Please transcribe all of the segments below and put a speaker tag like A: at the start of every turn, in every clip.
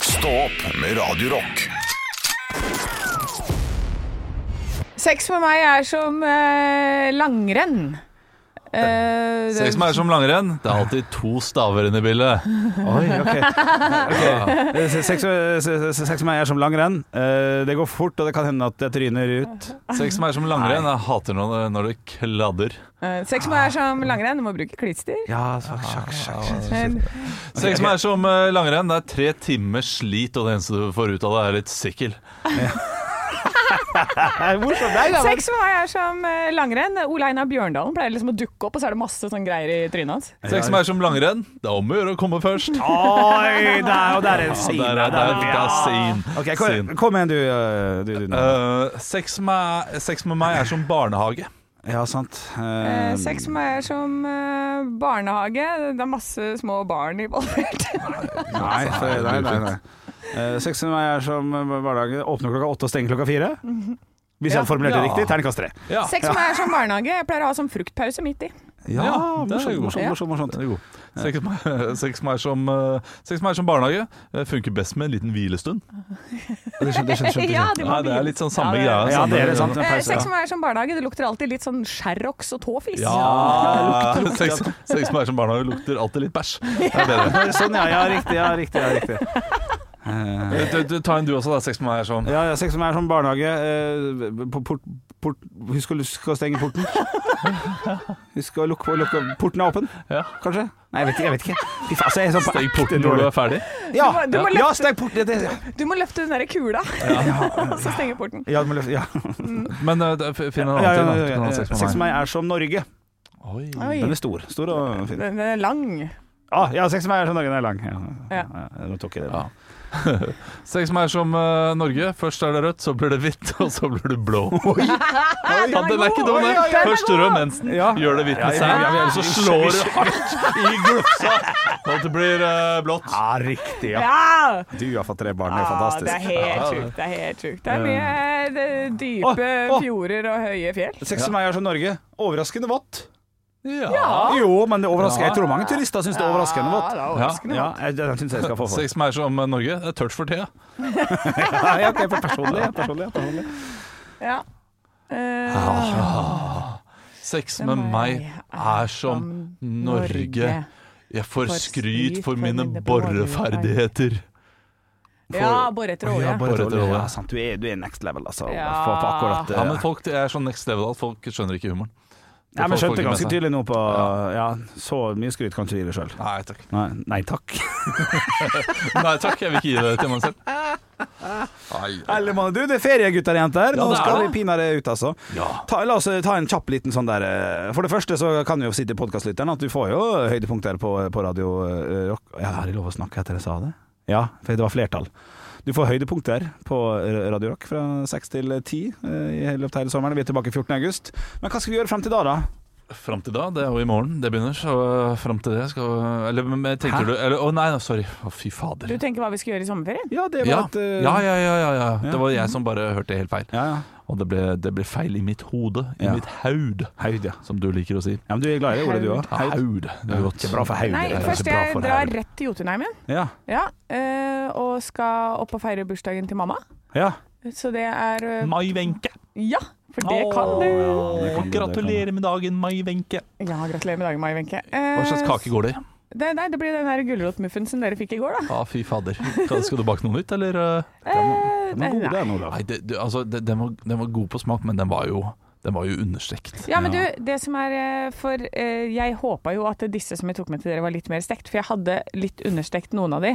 A: Stå opp med Radio Rock.
B: Sex med meg er som eh, langrenn. Eh, det-
C: Sex meg som langrenn.
D: Det er alltid to staver inne i bildet.
E: Oi, ok. Eh, okay. Sex, sex, sex med meg er som langrenn. Eh, Det går fort, og det kan hende at jeg tryner ut.
C: Sex meg som
D: Langrenn,
C: langrenn.
D: jeg hater når det, når det kladder.
B: eh, sex med meg er som langrenn. Du må bruke klister.
E: Ah. Ja, sjakk, sjakk, sjakk.
B: Men-
D: Sex meg som eh, langrenn, det er tre timers slit, og det eneste du får ut av det, er litt sikkel.
E: Det er morsomt. Det er gammelt.
B: Sex med meg er som eh, langrenn. Ole Einar Bjørndalen pleier liksom å dukke opp, og så er det masse sånn greier i trynet hans.
D: Sex meg som langrenn, det er om å gjøre å komme først.
E: Oi, der, og der er det
D: Ja,
E: sin.
D: der er- der- der er sin.
E: Ah, Ok,
D: Sin.
E: kom, kom igjen du, eh, du, du nå.
D: Eh, sex, med, sex med meg er som barnehage.
E: Ja, sant. Um.
B: Eh, sex med meg er som eh, barnehage. Det er masse små barn involvert.
E: Nei, for, nei, nei, nei. Eh, Sex med meg er som eh, hverdagen åpner klokka åtte og stenger klokka fire.
B: Mhm.
E: Hvis jeg hadde formulert det
D: Ja.
E: riktig, terningkast tre.
D: Ja,
B: Sex med meg er som barnehage. Jeg pleier å ha som fruktpause midt i.
E: Ja,
D: Ja, det er
E: morsomt,
D: god.
E: morsomt,
B: Ja.
E: morsomt, morsomt.
D: den er god. Sex med, sex med meg som, eh, sex med meg som barnehage eh, funker best med en liten hvilestund.
E: Det skjønner, det skjønner, det
B: Ja,
E: skjønner.
B: de må
D: Nei, det er
B: hvile.
D: litt sånn samme
B: Ja,
D: greia.
E: Ja,
D: samme-
E: det er det sant. En
B: Eh,
E: pause.
B: sex med meg er som barnehage. Det lukter alltid litt sånn Sherrox og tåfis.
D: Ja, sex, sex med meg som barnehage lukter alltid litt bæsj. Det er bedre.
E: Ja. Sånn, ja. Ja, riktig. Ja, riktig. Ja, riktig. Eh,
D: Du, du, ta en du også, da. Sex med meg er sånn.
E: Ja, ja, sex med meg er som barnehage. eh, på port, port, husk, å, husk å stenge porten. Husk å lukke, lukke Porten er åpen,
D: Ja.
E: kanskje? Nei, jeg vet ikke. Jeg vet ikke. Fy faen, altså, jeg er sånn på
D: Steg
E: ekte
D: porten når du
E: dårlig.
D: er ferdig.
E: Ja,
B: Du må- du må
E: ja, steg porten. Det, det,
B: Du må løfte den der kula, og så stenge porten.
E: ja, du må løfte. Ja.
D: Men eh, da, f- finn en
E: Ja, ja,
D: annen
E: ja,
D: til. da. Du kan ha
E: ja.
D: Sex
E: Sex
D: med
E: med
D: meg.
E: meg er som Norge.
D: Oi.
B: Oi.
E: Den er stor. Stor og fin.
B: Den er lang.
E: Ah, ja, sex med meg er som Norge. Den er lang. Ja,
B: Ja.
E: ja, Nå tok jeg det.
D: Ja. Sex med meg er som eh, Norge. Først er det rødt, så blir det hvitt, og så blir det blå. Ja, den er ikke dum,
B: Oi,
D: den.
B: oi, oi.
D: Først rød mensen,
E: Ja.
D: gjør det hvitt med
E: Ja,
D: seg,
E: ja, ja, ja.
D: så slår du hardt i glufsa, og det blir eh, blått.
E: Ja, riktig. Ja.
B: Ja!
E: Du har fått tre barn. Det er
B: Ja, det er
E: fantastisk. Um,
B: helt sjukt. Det er helt sjukt. Det er mye det, dype
E: Åh, åh.
B: fjorder og høye fjell.
E: Sex med meg er som Norge. Overraskende vått.
D: Ja.
E: Jo, men det overrasker. Jeg tror mange turister syns det er overraskende
B: Ja,
E: vått.
B: det er overraskende
E: Ja,
B: vått.
E: jeg- den syns jeg skal få for.
D: Sex med meg er som eh, Norge. Det er tørt for tida.
E: Ja, ja, ok, for personlig, ja, personlig, ja, personlig.
B: Ja. Eh,
D: Sex med Ah. meg er som Norge. Jeg får skryt for mine boreferdigheter.
B: Ja, bore etter olje.
D: bare et rolle.
E: Ja, sant, du er, du er next level, altså.
B: Ja.
E: For, for akkurat eh, det.
D: Ja, men folk jeg er sånn next level at folk skjønner ikke humoren. Det
E: Nei, men
D: får folk
E: skjønte
D: ikke med
E: ganske
D: seg.
E: tydelig nå på Ja, så mye skryt kan ikke du gi deg sjøl.
D: Nei takk.
E: Nei, nei takk.
D: Nei takk, jeg vil ikke gi det til meg selv.
E: Eller, mann, du, det er ferie, gutter og jenter.
D: Ja,
E: Nå
D: det er
E: skal
D: det.
E: vi pinadø ut, altså. Ta, la oss eh, ta en kjapp liten sånn der eh, For det første så kan vi jo si til podkastlytteren at du får jo høydepunkter på, på radio eh, Rock. Ja, har jeg lov å snakke etter jeg sa det? Ja, for det var flertall. Du får høydepunkter på eh, Radio Rock fra seks til ti eh, i løpet av hele sommeren. Vi er tilbake 14. august. Men hva skal vi gjøre frem til da, da?
D: Fram til da, det er jo i morgen det begynner, så øh, fram til det skal Eller men tenker
E: Hæ?
D: du eller, Å nei, nei, sorry. Å, fy fader.
B: Du tenker hva vi skal gjøre i sommerferien?
E: Ja, det
D: Ja.
E: var et eh,
D: Ja, ja, ja, ja, ja.
E: ja.
D: Det var jeg som bare hørte helt feil.
E: ja, ja.
D: Og det ble, det ble feil i mitt hode. I
E: Ja.
D: mitt haud,
E: Haud, ja.
D: som du liker å si.
E: ja. Men du er glad i det ordet, du òg?
D: Ja, haud. Det er godt.
E: Ikke bra for haud.
B: Nei,
E: det er
B: først
E: ikke bra
B: jeg
E: for
B: drar
E: haud.
B: rett til Jotunheimen.
E: Ja.
B: Ja, eh, og skal opp og feire bursdagen til mamma.
E: ja.
B: Så det er eh,
D: Mai Wenche.
B: Ja, for det kan du.
D: Åh,
E: det kan du, det kan
D: Gratulerer med dagen, Mai Wenche.
B: Ja, gratulerer med dagen, Mai Wenche. Eh,
D: Hva slags kake går det i?
B: Det, nei, det blir den der gulrotmuffinsen dere fikk i går, da.
D: Ja, fy fader. Skal skal du bake noe nytt, eller? øh?
B: Eh,
E: Den var god, den, Olav.
D: Nei, det, du, altså, det, den, var, den var god på smak, men den var jo, den var jo understekt.
B: Ja, men du, det som er eh, For eh, jeg håpa jo at disse som jeg tok med til dere, var litt mer stekt. For jeg hadde litt understekt noen av de.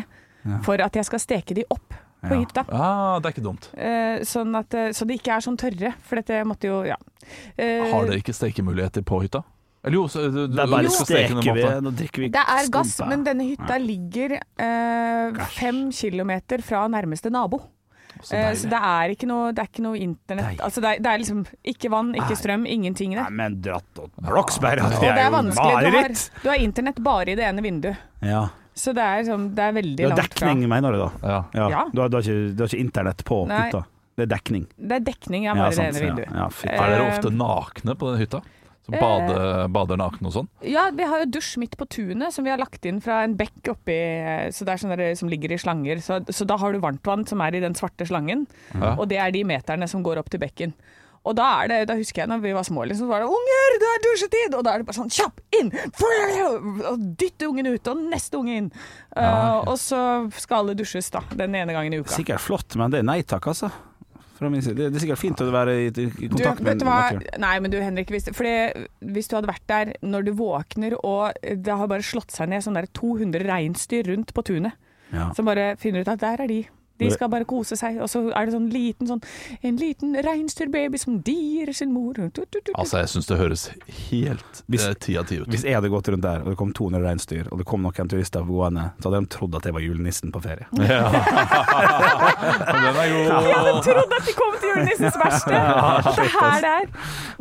B: For at jeg skal steke de opp på
E: Ja.
B: hytta.
D: Ah, det er ikke dumt.
B: Eh, sånn at, eh, så de ikke er sånn tørre. For dette måtte jo Ja. Eh,
D: Har dere ikke stekemuligheter på hytta? Eller jo, så, du, du,
E: Det er bare
D: du skal steke den
E: steker vi,
D: maten.
E: nå drikker vi
B: det er gass,
E: skumpa.
B: men denne hytta ligger eh, fem kilometer fra nærmeste nabo.
D: Så
B: Så, eh, så
D: deilig.
B: det er ikke noe, det er ikke noe internett.
E: Deilig.
B: Altså det, er, det er liksom ikke vann, ikke strøm, ingenting der.
E: Nei, men dratt og Bloksberg,
B: Og
E: det
B: det
E: er
B: er
E: jo
B: vanskelig. Du har,
E: mareritt!
B: du har internett bare i det ene vinduet.
E: Ja.
B: Så det er, sånn, det er veldig
E: Du har
B: langt fra.
E: dekning, mener du da?
D: Ja.
E: Ja.
B: Ja.
E: Du, har, du, har ikke, du har ikke internett på
B: Nei.
E: hytta? Det er dekning.
B: Det er dekning av bare
E: sant,
B: det ene vinduet.
E: Ja, ja, fy.
B: Eh,
D: Er dere ofte nakne på den hytta? Så bade, bader naken og sånn.
B: Ja, vi har jo dusj midt på tunet som vi har lagt inn fra en bekk oppi eh, Så det er sånne der som ligger i slanger. Så, så da har du varmtvann som er i den svarte slangen,
D: Ja.
B: og det er de meterne som går opp til bekken. Og da, er det, da husker jeg når vi var små, liksom, så var det 'Unger, det er dusjetid!' Og da er det bare sånn kjapp inn! Og dytte ungen ut, og neste unge inn. Eh, Og så skal alle dusjes, da. Den ene gangen i uka.
E: Sikkert flott, men det er nei takk, altså. Fra min side. Det det er sikkert fint å være i, i
B: Du,
E: kontakt
B: vet
E: med
B: du hva?
E: naturen.
B: Nei, men du Henrik, hvis, fordi hvis du hadde vært der når du våkner og det har bare slått seg ned sånn der 200 reinsdyr rundt på tunet,
E: Ja.
B: som bare finner ut at der er de. De
E: Bare-
B: skal bare kose seg, og så er det sånn liten sånn, en liten reinsdyrbaby som dier sin mor. Du, du, du, du.
D: Altså, jeg syns det høres helt
E: Hvis-
D: eh, ti av ti ut.
E: Hvis jeg hadde gått rundt der, og det kom 200 reinsdyr, og det kom noen turister gående, så hadde de trodd at jeg var julenissen på ferie.
B: Eh,
D: Ja. Den er god.
B: Ja, men trodde at de kom til julenissens verksted! Det er her det er.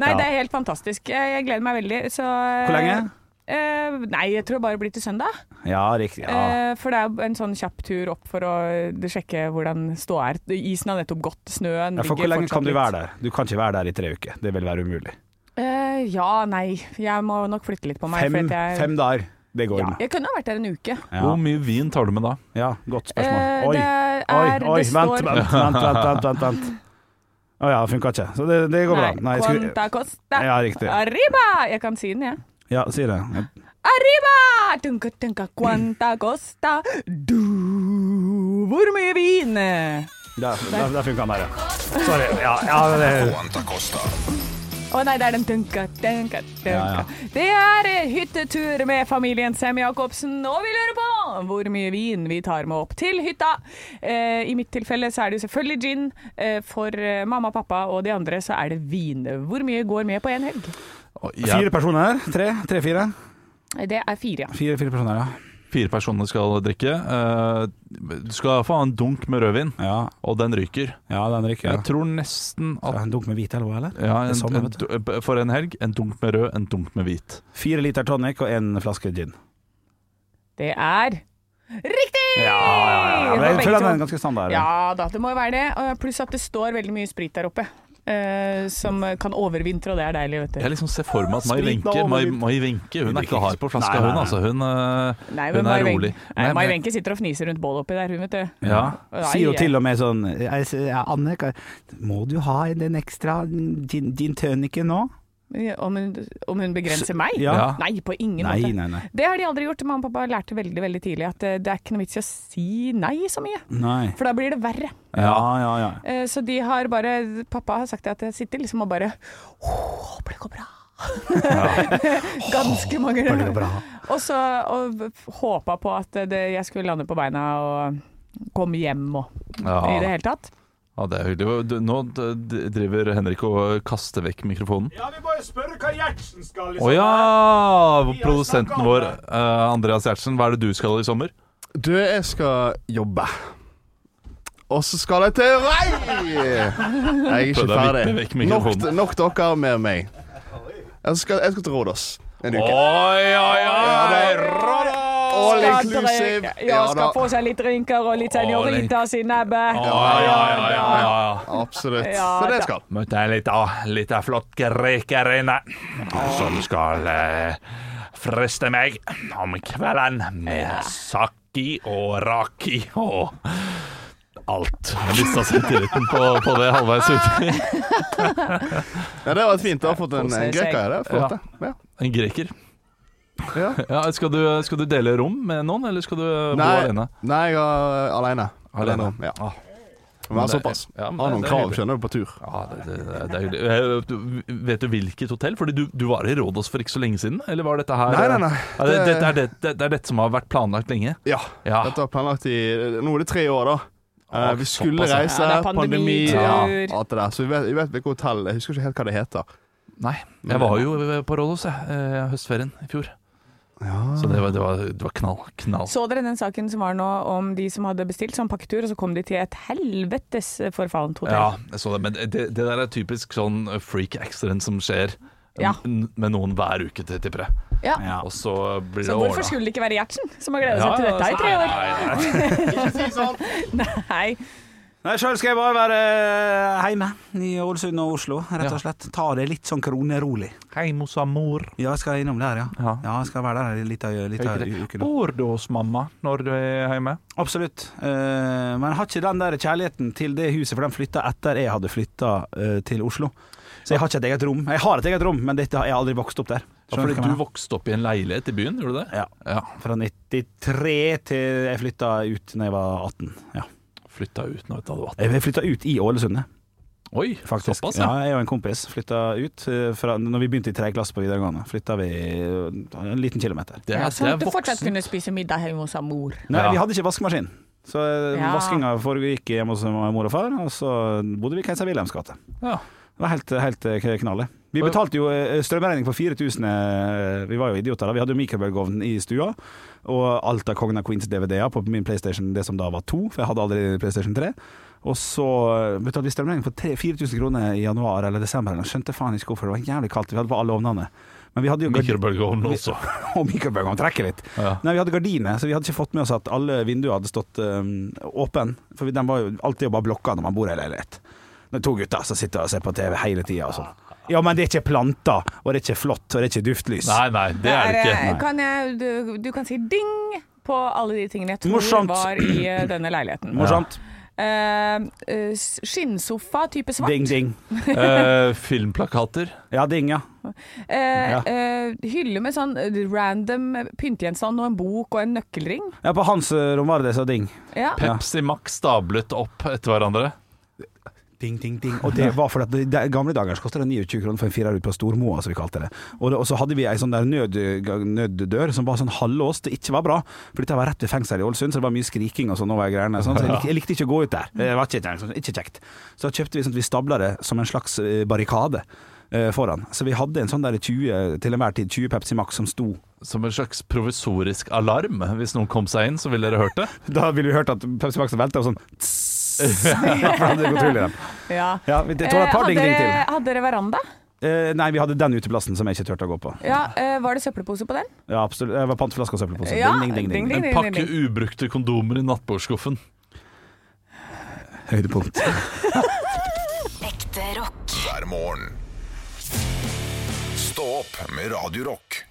B: Nei,
E: Ja.
B: det er helt fantastisk. Jeg jeg gleder meg veldig. Så,
E: Hvor lenge?
B: Eh, nei, jeg tror det bare blir til søndag.
E: Ja, riktig.
B: Eh,
E: Ja.
B: for det er jo en sånn kjapp tur opp for å eh, sjekke hvordan ståa er. Isen har nettopp gått, snøen
E: Ja, for hvor lenge kan du være der? Du kan ikke være der i tre uker. Det vil være umulig.
B: Eh, ja, nei. Jeg må nok flytte litt på meg.
E: Fem,
B: fordi at jeg,
E: fem dager. Det går
B: ja,
E: med.
B: jeg kunne ha vært der en uke.
E: Ja.
D: Hvor mye vin tar du med da?
E: ja, godt
B: Eh,
E: spørsmål. Oi,
B: det er
E: oi, oi,
B: det
E: vent,
B: står
E: vent, vent, vent, vent, vent, vent. Å ja, det funka ikke. Så det, det går bra. Nei, jeg skulle,
B: Quanta costa.
E: ja, riktig.
B: Arriba! Jeg kan si den, jeg.
E: Ja, si det.
B: Arriba! Dunka, dunka, quanta costa. Du, hvor mye vin?
E: Der, der, der funka den der, ja. Sorry. Ja, ja, det,
A: Quanta Costa.
B: Å nei, det er den dunka, dunka, dunka.
E: Ja, ja.
B: Det er eh, hyttetur med familien Sem Jacobsen, og vi lurer på hvor mye vin vi tar med opp til hytta. Eh, I mitt tilfelle så er det jo selvfølgelig gin. Eh, for eh, mamma, pappa og de andre så er det vin. Hvor mye går med på én helg?
D: Å,
E: fire
D: Jeg,
E: personer? Tre? Tre-fire?
B: Det er fire, ja.
E: Fire, fire personer, ja.
D: fire personer skal drikke. Eh, Du skal iallfall ha en dunk med rødvin,
E: Ja,
D: og den ryker.
E: ja den ryker.
D: Jeg tror nesten
E: Ja,
D: at
E: En dunk med hvit elva, eller?
D: ja,
E: Det er
D: en,
E: samme,
D: en,
E: vet du.
D: du- eh, For en helg, en dunk med rød, en dunk med hvit.
E: Fire liter tonic og en flaske gin.
B: Det er riktig!
E: Men
B: På
E: Jeg
B: begge
E: føler den
B: to.
E: er ganske standard.
B: Ja da, det må jo være det. Og Pluss at det står veldig mye sprit der oppe. eh, som kan overvintre, og det er deilig, vet du.
D: Jeg liksom ser for meg at Mai
E: Sprit da,
D: Wenche Mai,
E: Oliver.
D: Mai Wenche, hun
E: Hun
D: er
E: drikker
D: ikke hard på flaska,
E: Nei, nei,
D: hun.
E: nei.
D: altså Hun, eh,
B: Nei,
D: hun
B: men
D: er
B: Mai
D: rolig.
B: Wenche- Nei, Mai Wenche sitter og fniser rundt bålet oppi der, hun, vet du.
D: Ja.
B: Nei,
E: Sier jo
B: jeg-
E: til og med sånn jeg sier, ja, Anne, hva- må du ha den ekstra gin, gin tonicen nå?
B: Om hun, om hun begrenser meg?
E: Ja.
B: Nei, på ingen
E: Nei,
B: måte.
E: nei, nei.
B: Det har de aldri gjort. Mamma og pappa lærte veldig veldig tidlig at eh, det er ikke noe vits i å si nei så mye,
E: nei.
B: for da blir det verre.
E: Ja, ja, ja.
B: Eh, Så de har bare Pappa har sagt at jeg sitter liksom og bare «Åh, Håper det går bra. Ganske mange
E: Håper det går bra.
B: Og så og håpa på at det, jeg skulle lande på beina og komme hjem og i det
D: Ja.
B: hele tatt.
D: ja, det er hyggelig. Du- Nå d- d- driver Henrik og kaster vekk mikrofonen.
C: Ja, vi må jo spørre hva Gjertsen skal
D: Å ja! Produsenten vår, eh, Andreas Gjertsen, hva er det du skal i sommer?
C: Du, jeg skal jobbe. Og så skal jeg til Rei! Jeg er
D: Prøv deg
C: ikke
D: å vippe
C: ferdig.
D: vekk
C: Nok,
D: mikrofonen.
C: nok dere med meg. Jeg skal, jeg skal til Rådås en uke.
D: Oi, oi, oi!
C: All
B: Skal
C: inclusive.
B: drikke- Ja, skal
C: da.
B: få seg litt drinker og litt senoritas i nebbet.
D: Ja, ja, ja, ja.
C: Absolutt.
B: Ja, da.
C: Så det skal
D: Møtte jeg litt av litt av flott grekerinne som skal eh, friste meg om kvelden med saki og raki og alt. Jeg mista selvtilliten på, på det halvveis ute.
C: ja, Det har vært fint. Du har fått en,
B: Koser
C: en
B: seg.
C: greker i det. Flott, det. Ja.
D: En greker.
C: Ja.
D: Ja, skal, du, skal du dele rom med noen, eller skal du bo
C: Nei,
D: alene?
C: nei, jeg er alene.
D: Alene.
C: Ja.
D: Ah.
C: Men
D: det-
C: såpass.
D: ja, men
C: Har
D: det-
C: noen
D: det er
C: krav,
D: hyggelig.
C: skjønner du, på tur.
D: Ah, Ja, det, det, det er hyggelig. Eh, du- Vet du hvilket hotell? Fordi du, du var i Rådås for ikke så lenge siden? Eller var dette her
C: Nei, nei, nei.
D: Ja, det, det, det, er det, det, det er dette som har vært planlagt lenge?
C: Ja.
D: Ja.
C: Dette var planlagt i Nå er det tre år, da. Eh, vi
D: Ah.
C: skulle
D: såpass, ja.
C: reise,
B: Ja, det er
C: pandemi,
B: pandemitur.
C: ja, alt det der. Så vi vet, vi vet hvilket hotell Jeg husker ikke helt hva det heter.
D: Nei, jeg var jo på Rådås jeg, eh, høstferien i fjor. Så det var, det var, det var knall. knall.
B: Så dere den saken som var nå om de som hadde bestilt sånn pakketur, og så kom de til et helvetes forfallent hotell?
D: Ja, jeg så det. Men det, det der er typisk sånn freak accident som skjer
B: Ja.
D: n- med noen hver uke, til- tipper jeg.
B: Ja.
E: Ja.
D: Og så blir
B: Så
D: det
B: hvorfor
D: ordna.
B: skulle det ikke
E: sånn.
B: være Gjertsen, som har gleda seg til dette i tre år?
D: Nei, nei, nei.
B: Nei.
E: Nei, Sjøl skal jeg bare være eh, hjemme i Ålesund og Oslo, rett og slett. Ta det litt sånn kronerolig.
D: Heim hos mor.
E: Ja, jeg skal innom der, ja. ja.
D: Ja.
E: jeg skal være der litt av, litt av uken.
D: Bor du hos mamma når du er hjemme?
E: Absolutt. Eh, men jeg har ikke den der kjærligheten til det huset, for den flytta etter jeg hadde flytta eh, til Oslo. Så jeg har ikke et eget rom. Jeg har et eget rom, men dette, jeg har aldri vokst opp der.
D: Ja,
E: Skjønner
D: fordi
E: hva jeg
D: du
E: mener?
D: vokste opp i en leilighet i byen, gjorde du det?
E: Ja.
D: Ja.
E: Fra 93 til jeg flytta ut da jeg var 18. Ja.
D: Flytta ut når du hadde vært
E: Jeg flytta ut i Ålesund, jeg,
D: Oi,
E: faktisk.
D: såpass,
E: ja.
D: ja.
E: jeg og en kompis flytta ut eh, fra når vi begynte i tredje klasse på videregående. Flytta vi eh, en liten kilometer.
D: Det
B: Ja,
D: er,
B: sånn
D: det
B: at
D: er
B: du fortsatt
D: voksen.
B: kunne spise middag hjemme hos mor.
E: Nei,
D: Ja.
E: vi hadde ikke vaskemaskin. Så eh,
B: Ja.
E: vaskinga foregikk hjemme hos mor og far, og så bodde vi i Keiser Wilhelms gate.
D: Ja.
E: Det var helt, helt eh, knallet. Vi
D: Og-
E: betalte jo eh, strømregning på 4000. eh, Vi var jo idioter da. Vi hadde jo mikrobølgeovn i stua, og alt av Kongen av Queens DVD-er på min PlayStation, det som da var to, for jeg hadde aldri PlayStation 3. Og så eh, betalte vi strømregning på tre- 4000 kroner i januar eller desember. eller noe. Skjønte faen ikke hvorfor. Det var jævlig kaldt. Vi hadde på alle ovnene. Men vi hadde jo
D: Mikrobølgeovn også.
E: og mikrobølgeovn trekker litt.
D: Ja.
E: Nei, vi hadde gardiner, så vi hadde ikke fått med oss at alle vinduer hadde stått um, åpen. For vi- den var jo alltid bare blokka når man bor i en leilighet. Det er to gutter som sitter og ser på TV hele tida og sånn. Ja, men det er ikke planter, og det er ikke flott, og det er ikke duftlys.
D: Nei, nei, det er det
B: eh,
D: ikke.
B: Kan jeg, du, du kan si ding på alle de tingene jeg tror
E: Morsomt.
B: var i eh, denne leiligheten.
E: Morsomt.
B: Eh, eh, skinnsofa type svart.
E: Ding, ding.
D: Eh, filmplakater.
E: Ja, ding, ja.
B: Eh,
E: Ja.
B: eh, hylle med sånn eh, random pyntegjenstand og en bok og en nøkkelring.
E: Ja, på hans eh, rom var det det, så ding.
B: Ja.
D: Pepsi Max stablet opp etter hverandre.
E: Ding, ding, ding. Og det var fordi at det- det- i gamle dager så kostet det 29 kroner for en firer ut på Stormoa, som vi kalte det. Og, det, og så hadde vi ei sånn der nød, nøddør som var sånn halvlåst, det ikke var bra. For dette var rett ved fengselet i Ålesund, så det var mye skriking og sånn over greiene. Sånn, så jeg, likte, jeg likte ikke å gå ut der. Det var ikke, sånn, ikke kjekt. Så kjøpte vi sånn at vi stabla det som en slags eh, barrikade eh, foran. Så vi hadde en sånn der 20, til enhver tid 20 Pepsi Max som sto
D: Som en slags provisorisk alarm. Hvis noen kom seg inn, så ville dere hørt det.
E: Da ville vi hørt at Pepsi Max velta og sånn tss, For det hadde gått hull i dem.
B: Ja.
E: Ja, vi- det tåler et par
B: Eh,
E: ding, ding til.
B: hadde, hadde dere veranda?
E: Eh, nei, vi hadde den uteplassen som jeg ikke turte å gå på.
B: Ja, eh, Var det søppelpose på den?
E: Ja, absolutt. Det var panteflaske og søppelpose.
B: Ja,
E: ding, ding, ding, ding.
D: En pakke ubrukte kondomer i nattbordskuffen.
E: Høydepunkt.
F: Ekte rock.
A: hver morgen. Stå opp med Radio Rock.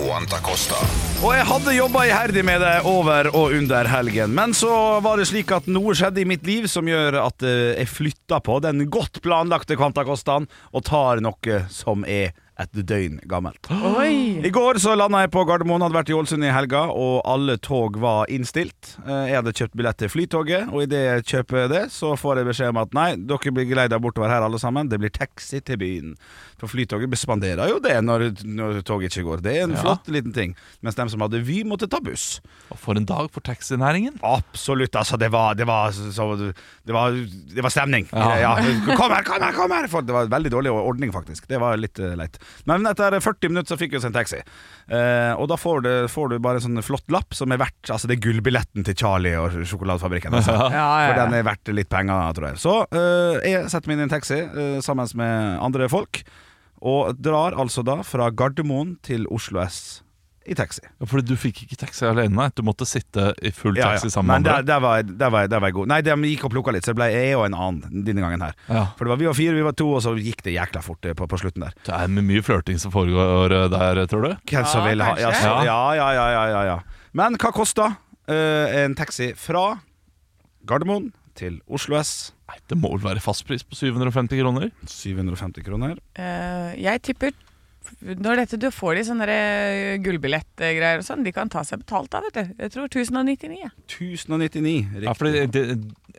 A: Quanta Costa.
E: Og jeg hadde jobba iherdig med det over og under helgen, men så var det slik at noe skjedde i mitt liv som gjør at eh, jeg flytta på den godt planlagte Kvantakostaen og tar noe som er et døgn gammelt.
B: Oi!
E: I går så landa jeg på Gardermoen, hadde vært i Ålesund i helga, og alle tog var innstilt. Eh, Jeg hadde kjøpt billett til Flytoget, og idet jeg kjøper det, så får jeg beskjed om at nei, dere blir geleida bortover her alle sammen, det blir taxi til byen. For Flytoget bespanderer jo det når, når toget ikke går. Det er en flott liten ting. Mens dem som hadde Vy, måtte ta buss.
D: Og For en dag for taxinæringen.
E: Absolutt, altså. Det var, det var, så, det var, det var stemning.
D: Ja.
E: Ja. Kom her, kom her, kom her! For det var veldig dårlig ordning, faktisk. Det var litt eh, leit. Men etter 40 minutter så fikk vi oss en taxi. Eh, og da får du, får du bare en sånn flott lapp som er verdt Altså, det er gullbilletten til Charlie og sjokoladefabrikken. Altså. For den er verdt litt penger, tror jeg. Så eh, jeg setter meg inn i en taxi eh, sammen med andre folk, og drar altså da fra Gardermoen til Oslo S i taxi.
D: Ja, Fordi du fikk ikke taxi alene, nei. du måtte sitte i full
E: Ja,
D: taxi
E: ja.
D: sammen
E: Men
D: med
E: der,
D: andre.
E: der, var jeg, der, var jeg, der var jeg god. Nei, de gikk og plukka litt, så det ble jeg og en annen denne gangen her.
D: Ja.
E: For det var vi var fire, vi var to, og så gikk det jækla fort eh, på, på slutten der.
D: Det er mye flørting som foregår eh, der, tror du?
E: Hvem som vil ha ja,
B: kanskje.
E: så, ja, ja, ja, ja, ja, ja. Men hva kosta eh, en taxi fra Gardermoen til Oslo S?
D: Nei, Det må vel være fastpris på 750 kroner?
E: 750 kroner.
B: Eh, jeg tipper når dette, du får de sånne der, eh, gullbillettgreier og sånn, de kan ta seg betalt av, vet du. Jeg tror 1099. jeg.
E: 1099.
D: Ja, fordi det,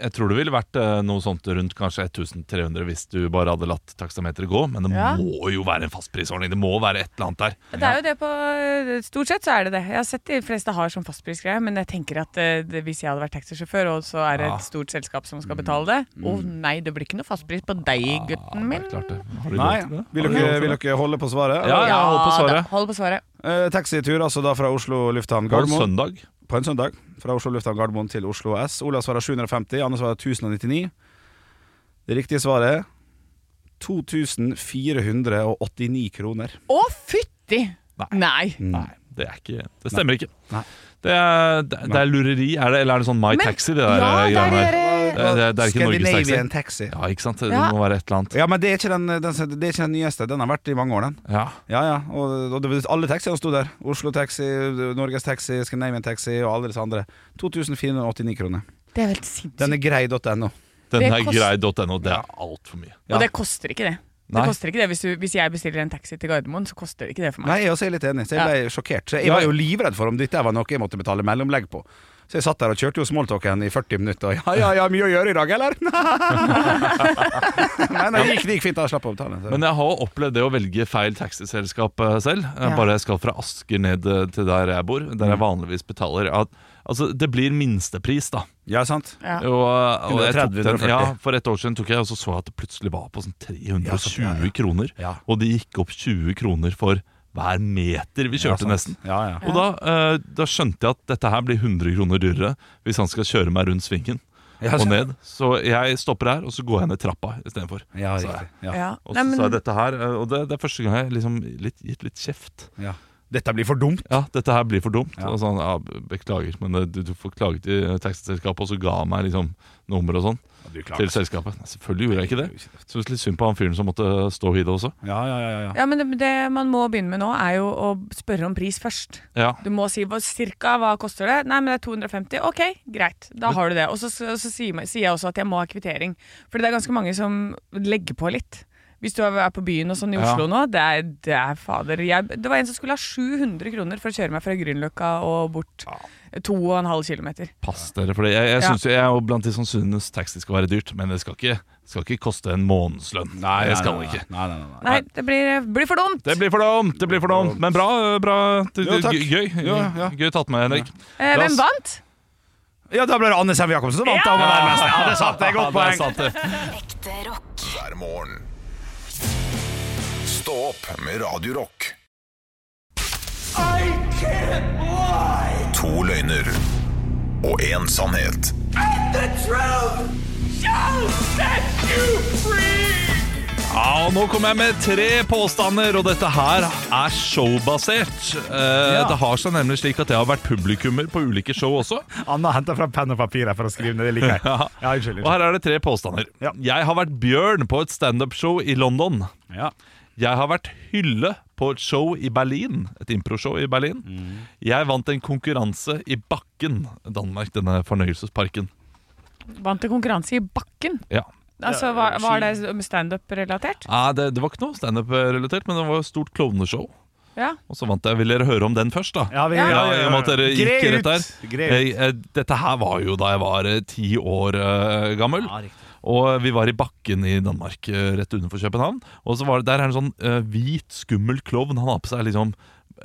D: jeg tror det ville vært eh, noe sånt rundt kanskje 1300 hvis du bare hadde latt taksameteret gå, men det
B: Ja.
D: må jo være en fastprisordning. Det må være et eller annet der.
B: Det er jo det på eh, Stort sett så er det det. Jeg har sett de fleste har sånn fastprisgreie, men jeg tenker at eh, det, hvis jeg hadde vært taxisjåfør, og så er det
D: Ja.
B: et stort selskap som skal betale det
D: Mm.
B: Å nei, det blir ikke noe fastpris på
D: Ah.
B: deg, gutten min.
D: Ja, det er klart det. Har du
E: Nei,
D: lov til det?
E: vil
D: Har du lov
E: dere,
D: til
E: vil
D: det?
E: dere holde på svaret?
D: Ja, ja, hold
B: Ja da,
D: på svaret.
B: Hold på svaret.
E: Eh, taxitur altså da fra Oslo lufthavn
D: Var det
E: Gardermoen.
D: søndag?
E: på en søndag fra Oslo lufthavn Gardermoen til Oslo S. Olavs svarer 750, Anne svarer 1099. Det riktige svaret er 2489 kroner.
B: Å, fytti! Nei.
D: Nei. Det, er ikke, det stemmer ikke.
E: Nei.
D: Det er, det, det er lureri, er det, eller er det sånn My
B: Men-
D: Taxi? Det der,
B: Ja,
D: eh,
B: det
D: greiene
B: er
D: her.
B: dere
D: Det, det, det er ikke Norges taxi.
E: Scandinavian taxi.
D: Ja, ikke sant? Det
B: Ja.
D: må være et eller annet.
E: Ja, men det er, ikke den, den, det er ikke den nyeste. Den har vært i mange år, den.
D: Ja.
E: Ja, ja. Og, og det, alle taxiene sto der. Oslo Taxi, Norges Taxi, Scandinavian Taxi og alle disse andre. 2489 kroner.
B: Det er helt sinnssykt.
E: Den er grei.no.
D: Den
B: Det
D: er
B: kost-
D: grei.no, det er altfor mye.
E: Ja.
B: Og det koster ikke det. Det
D: Nei.
B: koster ikke det hvis, du, hvis jeg bestiller en taxi til Gardermoen, så koster det ikke det for meg.
E: Nei, jeg også er litt enig, så jeg ble sjokkert. Så jeg var jo livredd for om dette var noe jeg måtte betale mellomlegg på. Så jeg satt der og kjørte jo smalltalken i 40 minutter. Og ja, ja, ja, mye å gjøre i dag, eller? nei, nei, det gikk, det gikk fint. da, Jeg slapp å betale. Så.
D: Men jeg har opplevd det å velge feil taxiselskap eh, selv. Jeg
B: Ja.
D: Bare jeg skal fra Asker ned eh, til der jeg bor, der
E: Mm.
D: jeg vanligvis betaler. At, altså, det blir minstepris, da.
E: Ja, sant?
B: Ja.
D: Og, og jeg tok
E: 130,
D: den,
E: 140.
D: ja, for et år siden tok jeg, og så så jeg at det plutselig var på sånn 320
E: Ja, sant, ja, ja.
D: kroner.
E: Ja.
D: Og det gikk opp 20 kroner for hver meter vi
E: Ja,
D: kjørte,
E: sant.
D: nesten.
E: Ja, ja.
D: Og da, eh, da skjønte jeg at dette her blir 100 kroner dyrere hvis han skal kjøre meg rundt svingen
E: Ja,
D: og
E: så-
D: ned. Så jeg stopper her, og så går jeg ned trappa istedenfor.
E: Ja,
D: Så-
E: riktig. Ja.
B: Ja.
D: Og
B: Nei,
D: så
B: men,
D: sa jeg dette her, eh, og det, det er første gang jeg liksom litt, gitt litt kjeft.
E: Ja. Dette blir for dumt.
D: Ja, dette her blir for dumt.
E: Ja.
D: Og sånn, ja, be- beklager, men eh, du, du får klage til eh, taxiselskapet, og så ga han meg liksom nummer og sånn
E: Du
D: til selskapet. Nei, selvfølgelig gjorde jeg ikke det. Så det var litt synd på han fyren som måtte eh, stå i det også.
E: Ja, ja, ja, ja.
B: ja, men det, det man må begynne med nå, er jo å spørre om pris først.
D: Ja,
B: Du må si hva, cirka hva koster det. Nei, men det er 250. Ok, greit. Da har du det. Og så, så, så sier, man- sier jeg også at jeg må ha kvittering. For det er ganske mange som legger på litt. Hvis du er på byen og sånn i
D: Ja.
B: Oslo nå, det er, det er fader jeg, Det var en som skulle ha 700 kroner for å kjøre meg fra Grünerløkka og bort. To og en halv kilometer.
D: pass dere for det. Jeg, jeg,
B: Ja.
D: synes jo, jeg er jo blant de som synes taxi skal være dyrt, men det skal ikke, skal ikke koste en månedslønn. det skal det ikke.
E: Nei, nei, nei, nei.
B: Nei, det blir, blir for dumt.
D: Det blir for dumt! det blir for dumt Men bra. eh, bra det,
E: Jo, takk.
D: Gøy,
E: Ja, ja.
D: gøy tatt med, Henrik.
B: eh,
D: la oss-
B: hvem vant?
E: Ja, da ble det Anne Sem Jacobsen som vant. da, hun var nærmest. Ja, det satt jeg godt
D: Ja, der
E: poeng.
D: satt det.
F: Ekte rock.
A: hver morgen. Stå opp med Radio Rock. To løgner og én sannhet.
D: Ja, og Nå kommer jeg med tre påstander, og dette her er showbasert. Eh, Det har seg nemlig slik at jeg har vært publikummer på ulike show også.
E: Anna henter fram penn og papir her for å skrive ned. Det liker jeg. Ja, unnskyld.
D: Og her er det tre påstander.
E: Ja.
D: Jeg har vært bjørn på et standup-show i London.
E: Ja.
D: Jeg har vært hylle på et show i Berlin. Et impro-show i Berlin.
E: Mm.
D: Jeg vant en konkurranse i Bakken, Danmark, denne fornøyelsesparken.
B: Vant til konkurranse i bakken.
D: Ja.
B: Altså, var, var det standup-relatert?
D: Nei, det, det var ikke noe standup-relatert, men det var et stort klovneshow.
B: Ja.
D: Og så vant jeg. Vil dere høre om den først, da?
E: Ja, vi,
B: Ja,
D: Ja, i og med at dere
E: Grei
D: gikk
E: ut.
D: rett der.
E: Grei ut.
D: Jeg, eh, dette her var jo da jeg var eh, ti år eh, gammel.
E: Ja, riktig.
D: Og vi var i bakken i Danmark, eh, rett utenfor København. Og så var det, der er en sånn eh, hvit, skummel klovn. Han har på seg liksom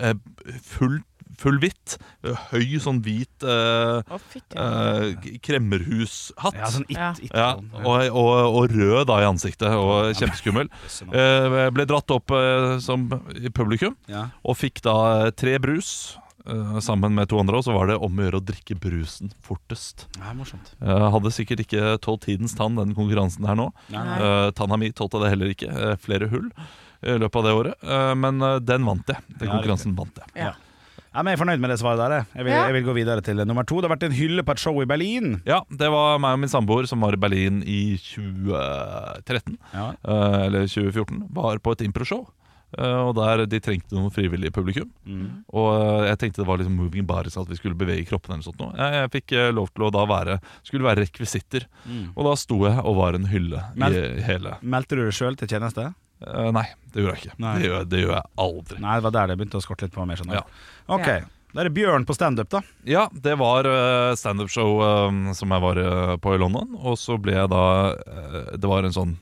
D: eh, full, full hvitt. eh, Høy sånn hvit eh,
B: Å, fytti.
D: eh, k- kremmerhushatt.
E: Ja, sånn it,
B: Ja.
E: it
D: Ja,
E: sånn.
D: og, og, og rød da i ansiktet, og kjempeskummel. Eh, ble dratt opp eh, som i publikum,
E: Ja.
D: og fikk da eh, tre brus. eh, sammen med to andre, og så var det om å gjøre å drikke brusen fortest.
E: Ja, morsomt.
D: Eh, hadde sikkert ikke tålt tidens tann, den konkurransen her nå.
B: Nei.
D: Uh, tanna mi tålte det heller ikke. eh, flere hull i løpet av det året. Eh, men eh, den vant jeg. Den
E: Ja,
D: konkurransen vant jeg.
B: Ja.
E: Ja, men jeg er fornøyd med det svaret der. jeg. Jeg vil,
B: Ja.
E: jeg vil gå videre til nummer to. Det har vært en hylle på et show i Berlin.
D: Ja, det var meg og min samboer som var i Berlin i 2013.
E: Ja.
D: eh, eller 2014, var på et improshow. eh, og der de trengte noen frivillige publikum.
E: Mm.
D: Og eh, jeg tenkte det var liksom moving bodies, at vi skulle bevege kroppen eller sånt noe. Jeg, jeg fikk eh, lov til å da være Skulle være rekvisitter. Og da sto jeg og var en hylle
E: Men-
D: i hele
E: Mm. Meldte du deg sjøl til tjeneste?
D: Eh, Nei, det gjorde jeg ikke.
E: Nei.
D: Det, gjør, det gjør jeg aldri.
E: Nei, det var der det begynte å skorte litt på meg. skjønner
D: Ja.
E: jeg. Ok, Da er det Bjørn på standup, da.
D: Ja, det var eh, standup-show eh, som jeg var eh, på i London. Og så ble jeg da eh, Det var en sånn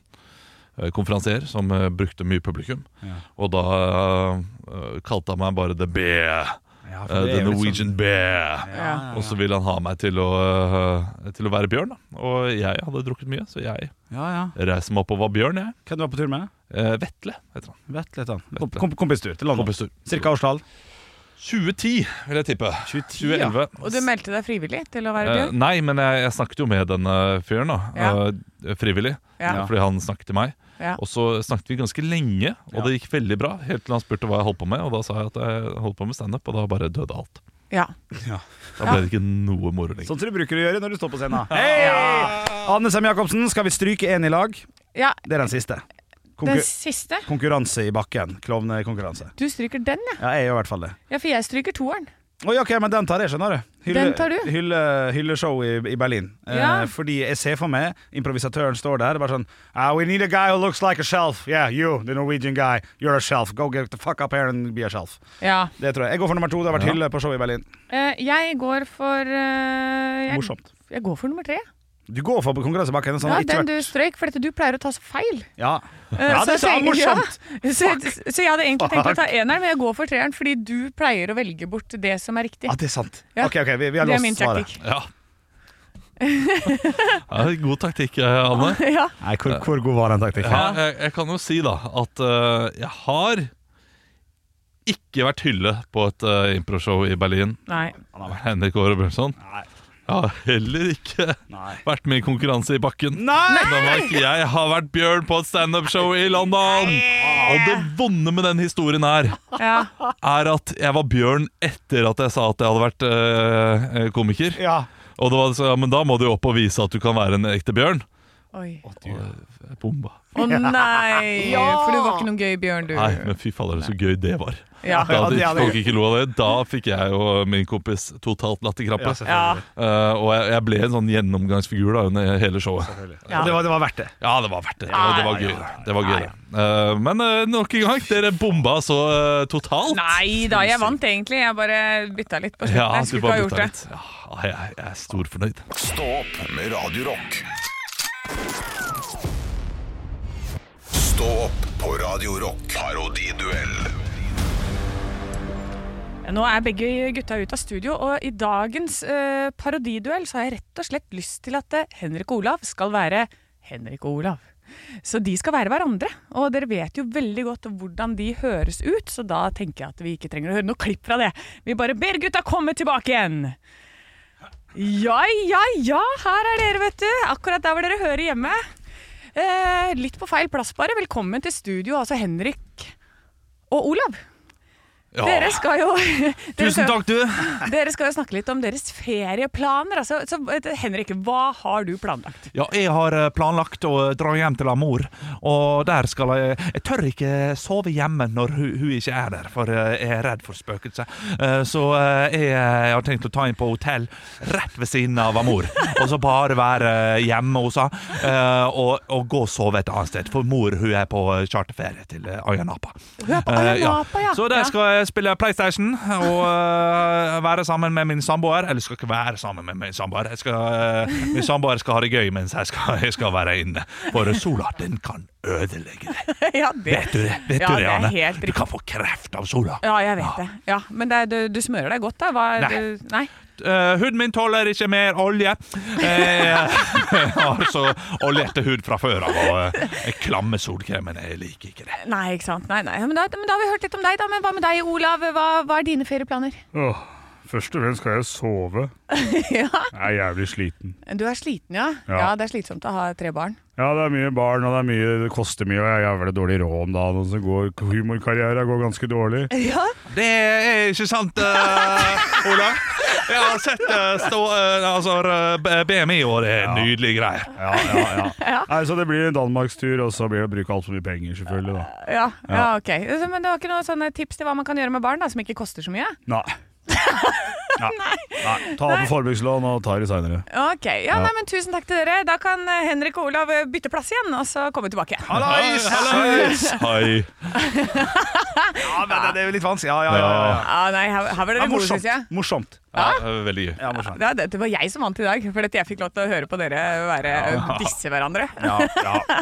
D: eh, konferansier som eh, brukte mye publikum.
E: Ja.
D: Og da eh, kalte han meg bare The Bear.
E: Ja, liksom-
D: Eh, the Norwegian Bear.
B: Ja.
D: Og så ville han ha meg til å, eh, til å være bjørn. Da. Og jeg hadde drukket mye, så jeg
E: Ja, ja.
D: reiste meg opp og var bjørn. jeg
E: Hvem du var på tur med?
D: Eh, Vetle heter han.
E: Vet litt, da.
D: Vetle.
E: Kom, kom, kompistur til London.
D: Kompistur.
E: Cirka årstall?
D: 2010, vil jeg tippe.
E: 2010, ja.
D: 2011.
B: Og du meldte deg frivillig til å være
D: Eh,
B: bjørn?
D: nei, men jeg, jeg snakket jo med den eh, fyren, da.
B: Ja.
D: eh, frivillig.
B: Ja.
D: Fordi han snakket til meg.
B: Ja.
D: Og så snakket vi ganske lenge, og
E: Ja.
D: det gikk veldig bra. Helt til han spurte hva jeg holdt på med, og da sa jeg at jeg holdt på med standup, og da bare døde alt.
B: ja.
D: Da ble det ikke noe moro lenger.
E: Sånn som du bruker å gjøre når du står på scenen. Hei! Anne Sem Jacobsen, skal vi stryke én i lag?
B: ja.
E: Det er den siste. Konkur
B: Den siste?
E: konkurranse i bakken. Klovnekonkurranse.
B: Du stryker den, ja.
E: Ja, jeg gjør i hvert fall det.
B: ja for jeg stryker toeren.
E: Oi, ok, men den tar jeg, skjønner du.
B: Den tar du.
E: Hylle, hylle show i, i Berlin.
B: Ja.
E: Eh, fordi jeg ser for meg improvisatøren står der bare sånn ah, We need a guy who looks like a shelf. Yeah, you, the Norwegian guy. You're a shelf. Go get the fuck up here and be a shelf.
B: Ja.
E: Det tror jeg. Jeg går for nummer to. Det har vært
D: Ja.
E: hylle på show i Berlin.
B: Eh, jeg går for eh, jeg,
E: Morsomt.
B: Jeg går for nummer tre.
E: Du går for konkurransebakken. Sånn,
B: ja,
E: ikke
B: den
E: vært-
B: du strøyk, for dette, du pleier å ta så feil.
E: Ja.
B: Eh,
E: Ja, det
B: så jeg
E: er
B: tenker- ja.
E: morsomt.
B: Så, så jeg hadde egentlig tenkt å ta eneren, men jeg går for treeren fordi du pleier å velge bort det som er riktig.
E: Ja, det er sant.
B: Ja.
E: Ok, ok, vi, vi har
B: Det er min
E: låst svaret.
B: taktikk.
D: Ja. ja, god taktikk, eh, Anne.
B: Ja.
E: Nei, hvor, hvor god var den taktikken?
D: Ja, jeg, jeg kan jo si da at eh, jeg har ikke vært hylle på et eh, improshow i Berlin.
B: Nei.
D: Henrik Åre Bjørnson.
E: Nei.
D: Jeg har heller ikke
E: Nei.
D: vært med i konkurranse i bakken.
E: Nei!
D: Danmark, jeg har vært Bjørn på et standup-show i London! Og det vonde med den historien her,
B: Ja.
D: er at jeg var Bjørn etter at jeg sa at jeg hadde vært eh, komiker.
E: Ja.
D: Og det var så, ja, men da må du jo opp og vise at du kan være en ekte bjørn.
B: Oi.
D: Jeg Bomba.
B: Å nei! For du var ikke noen gøy bjørn, du.
D: Nei, men fy fader, så gøy det var.
B: Ja.
D: Da at
E: det hadde-
D: folk ikke lo av det, da fikk jeg og min kompis totalt latterkrampe.
E: selvfølgelig.
B: Ja.
D: Eh, og jeg, jeg ble en sånn gjennomgangsfigur da under hele showet.
B: Ja.
E: Det, var, det var verdt det.
D: Ja, det var verdt det. Det var, det var
E: Ja, ja,
D: gøy. Det var gøy det. Eh, men uh, nok en gang, dere bomba så eh, totalt.
B: Nei da, jeg vant egentlig. Jeg bare bytta litt på slutten.
D: Ja,
B: jeg
D: du
B: skulle ikke
D: bare
B: ha gjort
D: bytta
B: det.
D: litt. Ja, jeg, jeg er storfornøyd.
A: Stå opp med Radio Rock. Stå opp på Radio Rock. Parodiduell.
B: Nå er begge gutta ute av studio, og i dagens eh, parodiduell så har jeg rett og slett lyst til at eh, Henrik og Olav skal være Henrik og Olav. Så de skal være hverandre, og dere vet jo veldig godt hvordan de høres ut, så da tenker jeg at vi ikke trenger å høre noe klipp fra det. Vi bare ber gutta komme tilbake igjen! Ja, ja, ja, her er dere, vet du. Akkurat der hvor dere hører hjemme. Eh, litt på feil plass, bare. Velkommen til studio, altså Henrik og Olav.
D: Ja.
B: Dere skal jo dere
D: Tusen
B: skal-
D: takk, du.
B: dere skal jo snakke litt om deres ferieplaner. Altså, så, eh, Henrik, hva har du planlagt?
D: Ja, jeg har eh, planlagt å dra hjem til mor, og der skal jeg Jeg tør ikke sove hjemme når hun, hun ikke er der, for eh, jeg er redd for spøkelser. Eh, Så eh, jeg, eh, har tenkt å ta inn på hotell rett ved siden av mor, og så bare være eh, hjemme hos henne eh, og, og gå og sove et annet sted, for mor hun er på eh, charterferie til eh, Ayanapa.
B: Hun er på
D: Eh, ja.
B: Ayanapa, ja.
D: Så der
B: Ja.
D: skal jeg spille PlayStation og eh, være sammen med min samboer. Eller skal ikke være sammen med min samboer. Jeg skal, eh, min samboer skal ha det gøy mens jeg skal, jeg skal være inne. For sola, den kan ødelegge deg.
B: ja, det.
D: Vet du det, vet
B: Ja, det
D: du det
B: er
D: Anne?
B: helt
D: Du
B: riktig.
D: kan få kreft av sola.
B: Ja, jeg vet det. Ja, men det er, du, du smører deg godt, da? Hva,
D: Nei.
B: Du, nei.
D: Eh, huden min tåler ikke mer olje. Eh, jeg har så oljete hud fra før av, og eh, klamme solkremen, jeg liker ikke det.
B: nei, ikke sant. Nei, nei. Men, da, men da har vi hørt litt om deg, da. Men hva med deg, Olav? Hva, hva er dine ferieplaner?
F: Åh, først og fremst skal jeg sove. Jeg
B: ja.
F: er jævlig sliten.
B: Du er sliten, ja? ja?
F: Ja.
B: det er slitsomt å ha tre barn.
F: Ja, det er mye barn, og det er mye, det koster mye, og jeg har jævlig dårlig råd om dagen, og så går humorkarrieren går ganske dårlig.
B: Ja.
D: Det er ikke sant, eh, Olav. Jeg har sett eh, stå, eh, altså, eh, B- BMI, og det er nydelige greier.
F: Ja, ja, ja. Nei, så det blir en Danmarkstur, og så blir det å bruke altfor mye penger, selvfølgelig, da.
B: Ja, ja, ok. Så, Men det var ikke noen sånne tips til hva man kan gjøre med barn da, som ikke koster så mye?
F: Nei. Nei. Nei. Ta på forbrukslån og ta det seinere.
B: Ok, ja, Nei, men Tusen takk til dere. Da kan eh, Henrik og Olav eh, bytte plass igjen, og så komme tilbake.
E: Hallais!
D: Hallais! Hei.
E: Ja, men det, det er jo litt vanskelig. Ja, ja, ja. ja, ja.
B: Ja, nei, her, her var
E: Ja,
B: dere gode, syns jeg.
E: morsomt. Morsomt.
D: Ja, det var veldig gøy.
E: Ja, morsomt.
B: Ja, det, det var jeg som vant i dag, for at jeg fikk lov til å høre på dere være, disse hverandre.
E: Ja, ja.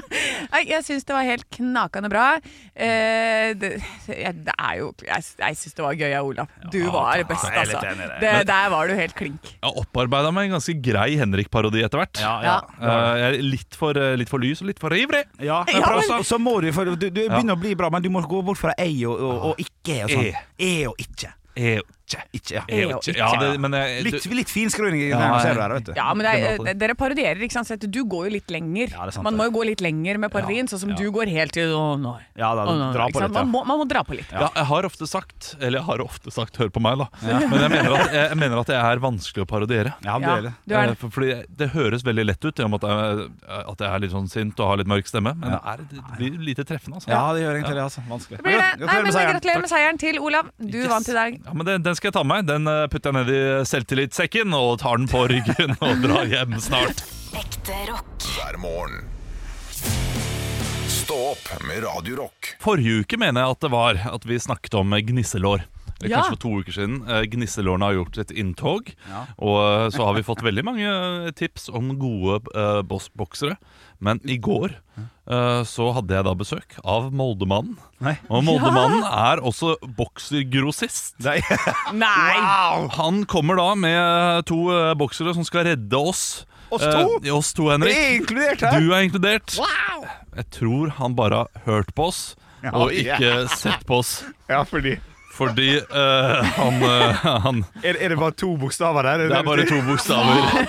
B: Nei, jeg syns det var helt knakende bra. Eh, det, jeg, det er jo Jeg, jeg syns det var gøy av Olav. Du var best,
E: jeg er litt
B: altså.
E: enig i det.
B: Det, der var du helt klink.
D: Jeg opparbeida meg en ganske grei Henrik-parodi etter hvert.
E: ja,
B: Ja.
E: ja.
D: Eh, jeg er litt for, eh, litt for lys og litt for ivrig.
E: ja.
B: Ja,
E: men
B: men-
E: så- Så må du, for du, du begynner å bli bra, men du må gå bort fra ei og, og, og ikke. Og sånn.
D: E.
E: E og ikke.
D: er jo ikke.
E: Ikke, ja.
B: E
D: Er jo ikke. Ja, det, men eh,
E: Litt,
D: du,
E: litt finskruing i
D: Ja,
E: knærne,
D: ja.
E: ser du her, vet du.
B: Ja, men det
E: Det er
B: er,
E: bra
B: eh, dere parodierer, ikke sant? Så at Du går jo litt lenger.
E: Ja, det er sant,
B: man
E: det.
B: må jo gå litt lenger med parodien, sånn som du går helt til Å, nei.
E: Ja, da,
B: Å, nei,
E: dra
B: ikke
E: på
B: sant?
E: litt, ja.
B: Man, må, man må dra på litt.
D: ja, jeg har ofte sagt Eller jeg har ofte sagt, hør på meg, da. Men jeg mener, at, jeg mener at det er vanskelig å parodiere.
E: Ja, det
B: Ja,
E: er det.
B: du er
D: Eh,
B: det.
D: for, fordi det høres veldig lett ut, i og med at jeg, at jeg er litt sånn sint og har litt mørk stemme. Men det, er, det blir lite treffende. Altså.
E: Ja, det gjør egentlig det, altså. Vanskelig.
B: Blir det? Nei,
E: Gratulerer
B: men
E: med seieren.
B: Gratulerer med seieren til Olav. Du vant i dag.
D: Ja, men den, den skal jeg ta med meg. Den eh, putter jeg ned i selvtillitssekken og tar den på ryggen og drar hjem snart.
G: Ekte rock.
A: hver morgen. Stå opp med Radio Rock.
D: Forrige uke mener jeg at det var at vi snakket om eh, gnisselår. Eller
B: Ja.
D: Kanskje for to uker siden. Eh, Gnisselårene har gjort sitt inntog.
E: Ja.
D: Og eh, så har vi fått veldig mange eh, tips om gode eh, boss- boksere. Men i går eh, så hadde jeg da besøk av Moldemannen.
E: Nei.
D: Og Moldemannen er også boksergrossist.
E: Nei.
B: Nei!
D: Han kommer da med to eh, boksere som skal redde oss.
E: Oss to?
D: Eh, oss to,
E: Det
D: Henrik.
E: er inkludert her!
D: Du er inkludert. Jeg tror han bare har hørt på oss og
E: ja.
D: ikke sett på oss.
E: Ja, fordi
D: Fordi eh, han, eh, han
E: er, er det bare to bokstaver der?
D: Det er bare to bokstaver.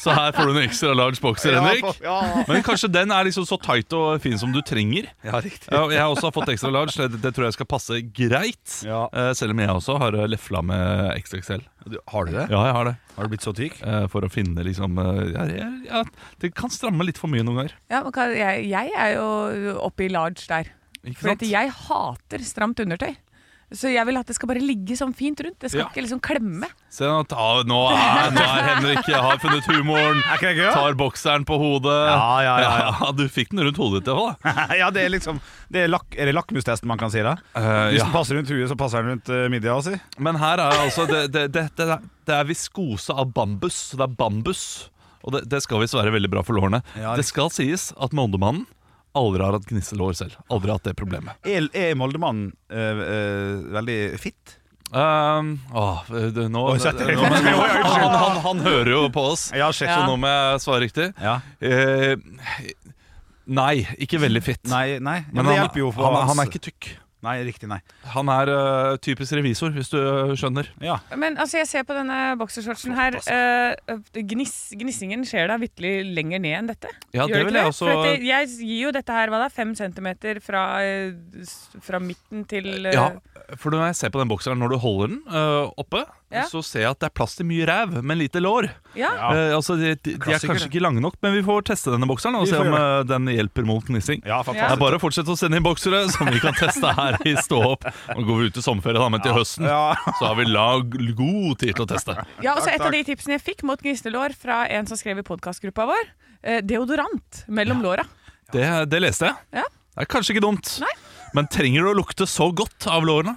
D: Så her får du en ekstra large bokser, Henrik.
E: Ja,
D: Men kanskje den er liksom så tight og fin som du trenger.
E: ja riktig.
D: Ja, og Jeg har også fått ekstra large. Det, det tror jeg skal passe greit.
E: Ja.
D: Eh, selv om jeg også har eh, lefla med ekstra XL.
E: Har du det?
D: Ja, jeg har det.
E: Har du blitt så tykk?
D: Eh, for å finne liksom eh, ja, ja, ja, Det kan stramme litt for mye noen ganger.
B: Ja, men hva- jeg, jeg er jo oppe i large der.
D: Ikke
B: For
D: sant?
B: jeg hater stramt undertøy. Så jeg vil at det skal bare ligge sånn fint rundt. Det skal
D: Ja.
B: ikke liksom klemme.
D: Se, nå, ta, nå, er, nå er Henrik Jeg har funnet humoren.
E: Er ikke det gøy? da?
D: Tar bokseren på hodet.
E: Ja, ja, ja, ja.
D: Du fikk den rundt hodet ditt òg, da.
E: ja, det er liksom det er, lak, er det lakmustesten man kan si det?
D: Eh,
E: Hvis
D: ja.
E: den passer rundt huet, så passer den rundt uh, midja si.
D: Men her er altså det, det, det, det, er- det er viskose av bambus. så Det er bambus. Og det, det skal visst være veldig bra for lårene.
E: Ja,
D: det skal sies at Moldemannen aldri har hatt gnisselår selv. Aldri hatt det problemet.
E: Er, er Moldemannen eh, eh, veldig fit?
D: Um, åh, det, nå,
E: Oi,
D: nå,
E: satt jeg-
D: men- han, han, han hører jo på oss,
E: Ja, sjekk.
D: så nå må jeg svare riktig.
E: Ja.
D: Eh, nei, ikke veldig fitt.
E: Nei, nei. Ja,
D: Men
E: men det
D: han,
E: hjelper jo for
D: han,
E: hans-
D: han er ikke tykk.
E: Nei, riktig, nei.
D: Han er eh, typisk revisor, hvis du skjønner.
E: Ja.
B: Men altså, jeg ser på denne boksershortsen her. eh, gniss, gnissingen skjer da vitterlig lenger ned enn dette.
D: Ja,
B: Gjør
D: det
B: ikke
D: vil jeg
B: For
D: også-
B: at det- jeg gir jo dette her hva det er, fem centimeter fra, eh, s- fra midten til eh,
D: Ja, for når jeg ser på den bokseren når du holder den eh, oppe,
B: Ja.
D: så ser jeg at det er plass til mye ræv, men lite lår.
B: ja.
D: Eh, altså, de, de, de er
E: Klassiker,
D: kanskje ikke lange nok, men vi får teste denne bokseren og
E: Vi
D: se
E: får
D: om eh, den hjelper mot knissing.
E: ja,
D: Det
E: fantastisk.
D: er bare å fortsette å sende inn boksere som vi kan teste her i Stå opp. Nå går vi ut i sommerferie, da, men til høsten
E: Ja.
D: så har vi lag god tid til å teste.
B: ja, og så Et av de tipsene jeg fikk mot gnisselår fra en som skrev i podkastgruppa vår, eh, deodorant mellom låra.
D: Det, det leste jeg.
B: Ja.
D: Det er kanskje ikke dumt.
B: Nei.
D: Men trenger du å lukte så godt av lårene?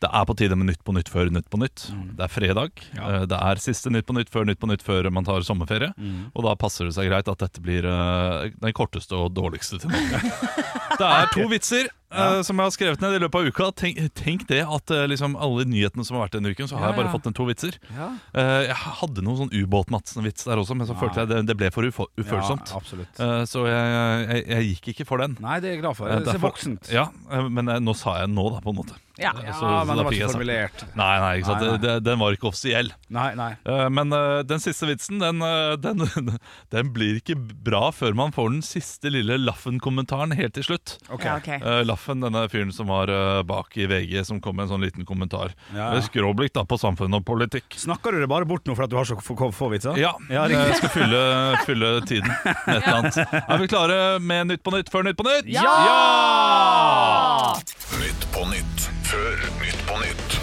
D: Det er på tide med Nytt på Nytt før Nytt på Nytt.
E: Mm.
D: Det er fredag. eh, Det er siste Nytt på Nytt før Nytt på Nytt før man tar sommerferie.
E: Mm.
D: Og da passer det seg greit at dette blir eh, den korteste og dårligste til nå. Det er to vitser eh, som jeg har skrevet ned i løpet av uka. Tenk, tenk det at eh, liksom alle nyhetene som har vært denne uken, så har jeg
B: ja.
D: bare fått ned to vitser. Eh, jeg hadde noen sånn Ubåt-Madsen-vits der også, men så følte jeg det, det ble for ufo- ufølsomt.
E: Ja, absolutt.
D: Eh, så jeg, jeg, jeg gikk ikke for den.
E: Nei, det er jeg glad for.
D: Eh,
E: Det er
D: derfor-
E: voksent.
D: Ja, eh, men eh, nå sa jeg nå, da, på en måte.
B: Ja.
D: Eh, så-
E: Ja,
D: så
E: men
D: da
E: det
D: fikk jeg
E: var ikke
D: sagt-
E: formulert.
D: Nei, nei, ikke sant?
E: Nei, nei.
D: Det- Det, den var ikke offisiell.
E: Nei, nei.
D: Eh, Men eh, den siste vitsen, den, eh, den, den blir ikke bra før man får den siste lille Laffen-kommentaren helt til slutt.
E: Ok.
B: Ja, ok.
D: Eh, Laffen, denne fyren som var eh, bak i VG, som kom med en sånn liten kommentar.
E: Ja.
D: Med Skråblikk da på samfunn og politikk.
E: Snakker du det bare bort nå for at du har så få, få, få vitser?
D: Ja,
E: Ja, riktig.
D: jeg skal fylle, fylle tiden med et eller annet. Er vi klare med Nytt på nytt før Nytt på nytt? Ja!
A: Nytt på nytt før Nytt på nytt.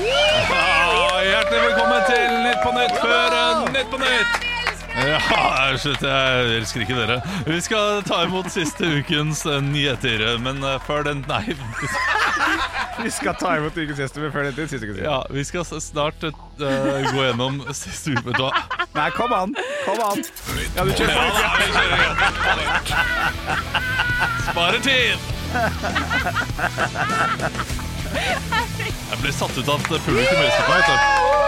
D: Ja, Ah, Hjertelig velkommen til Nytt på nytt før eh, Nytt på nytt! Ja, slutt. Jeg elsker ikke dere. Vi skal ta imot siste ukens eh, nyheter, men eh, før den Nei.
E: Vi skal ta imot ukens gjest. men før det til siste ukens gjest.
D: Ja, vi skal s- snart eh, gå gjennom siste uke. Vet du hva?
E: Nei, kom an! Kom an!
A: Nytt
E: Ja, du
A: på
E: kjører
D: Ja,
E: på.
D: da, vi kjører igjen. Sparer tid! Jeg blir satt ut av at publikum elsker meg. vet du.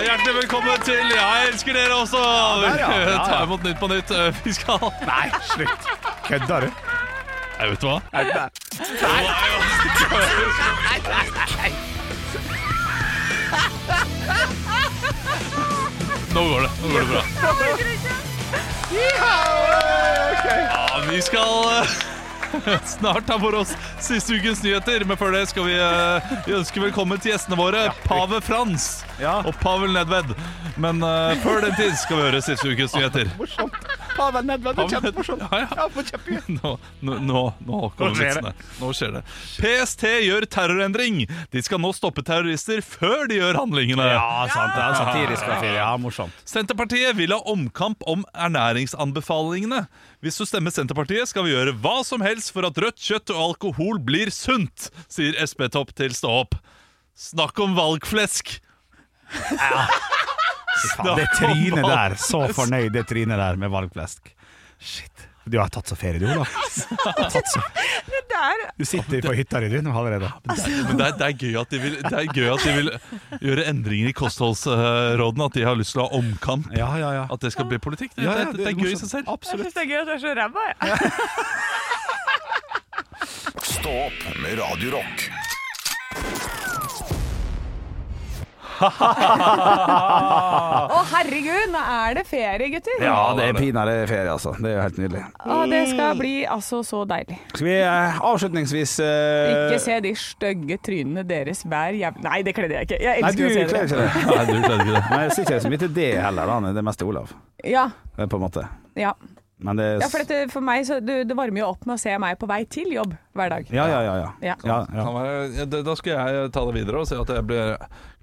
D: Hjertelig velkommen til Ja, jeg elsker dere også! Ta imot Nytt på nytt. Vi skal Nei, slutt.
H: Kødder du?
D: Jeg vet du hva? Nei, Nå går det. Nå går det bra. Ja, vi skal eh, snart ta for oss siste ukens nyheter, men før det skal vi, eh, vi ønske velkommen til gjestene våre, pave Frans
E: Ja.
D: og Pavel Nedved. Men eh, før den tid skal vi høre siste ukens nyheter.
C: Morsomt. Pavel Nedved, det er
D: Pavel Nedved.
E: sånn?
C: kjempemorsomt.
D: Ja, ja.
C: Ja, for kjempegøy.
D: Nå, nå, nå, nå kommer
H: skjer
D: vitsene. Nå skjer det. PST gjør terrorendring. De skal nå stoppe terrorister før de gjør handlingene.
E: Ja, sant. Det er satirisk grafiri. Ja, morsomt.
D: Senterpartiet vil ha omkamp om ernæringsanbefalingene. Hvis du stemmer Senterpartiet, skal vi gjøre hva som helst for at rødt kjøtt og alkohol blir sunt, sier SP-topp til Stå opp. Snakk om valgflesk!
E: Faen, det trynet der. Så fornøyd det trynet der med valgflesk. Shit. Du har tatt så ferie, du, Ola.
B: Det der
E: Du sitter på hytta di nå allerede.
D: Men det er, det, er gøy at de vil, det er gøy at de vil gjøre endringer i kostholdsrådene, at de har lyst til å ha omkamp.
E: Ja, ja, ja.
D: At det skal bli politikk. Det,
E: Ja, ja,
D: det, det, er gøy i
E: morsomt.
D: seg selv.
B: Jeg
E: Absolutt.
B: syns det er gøy at du er så ræva, jeg.
A: Stå opp med Radio Rock.
B: Å, herregud, nå er det ferie, gutter.
E: Ja, det er pinadø ferie, altså. Det er jo helt nydelig.
B: Å, det skal bli altså så deilig.
E: Skal vi eh, avslutningsvis eh,
B: Ikke se de stygge trynene deres hver jævla Nei, det kledde jeg ikke. Jeg
E: Nei, du
B: elsker å se dere.
E: kler ikke det.
D: Nei, du kledde ikke det.
E: Nei, jeg sier ikke så mye til det heller, da. Det er mest til Olav,
B: Ja,
E: eh, på en måte.
B: ja.
E: Men det er
B: ja for, dette, for meg så det, det varmer jo opp med å se meg på vei til jobb hver dag.
E: Ja, ja, ja. ja.
B: Ja.
E: ja, ja.
D: Kan være, ja, da- da skal jeg eh, ta det videre og si at jeg blir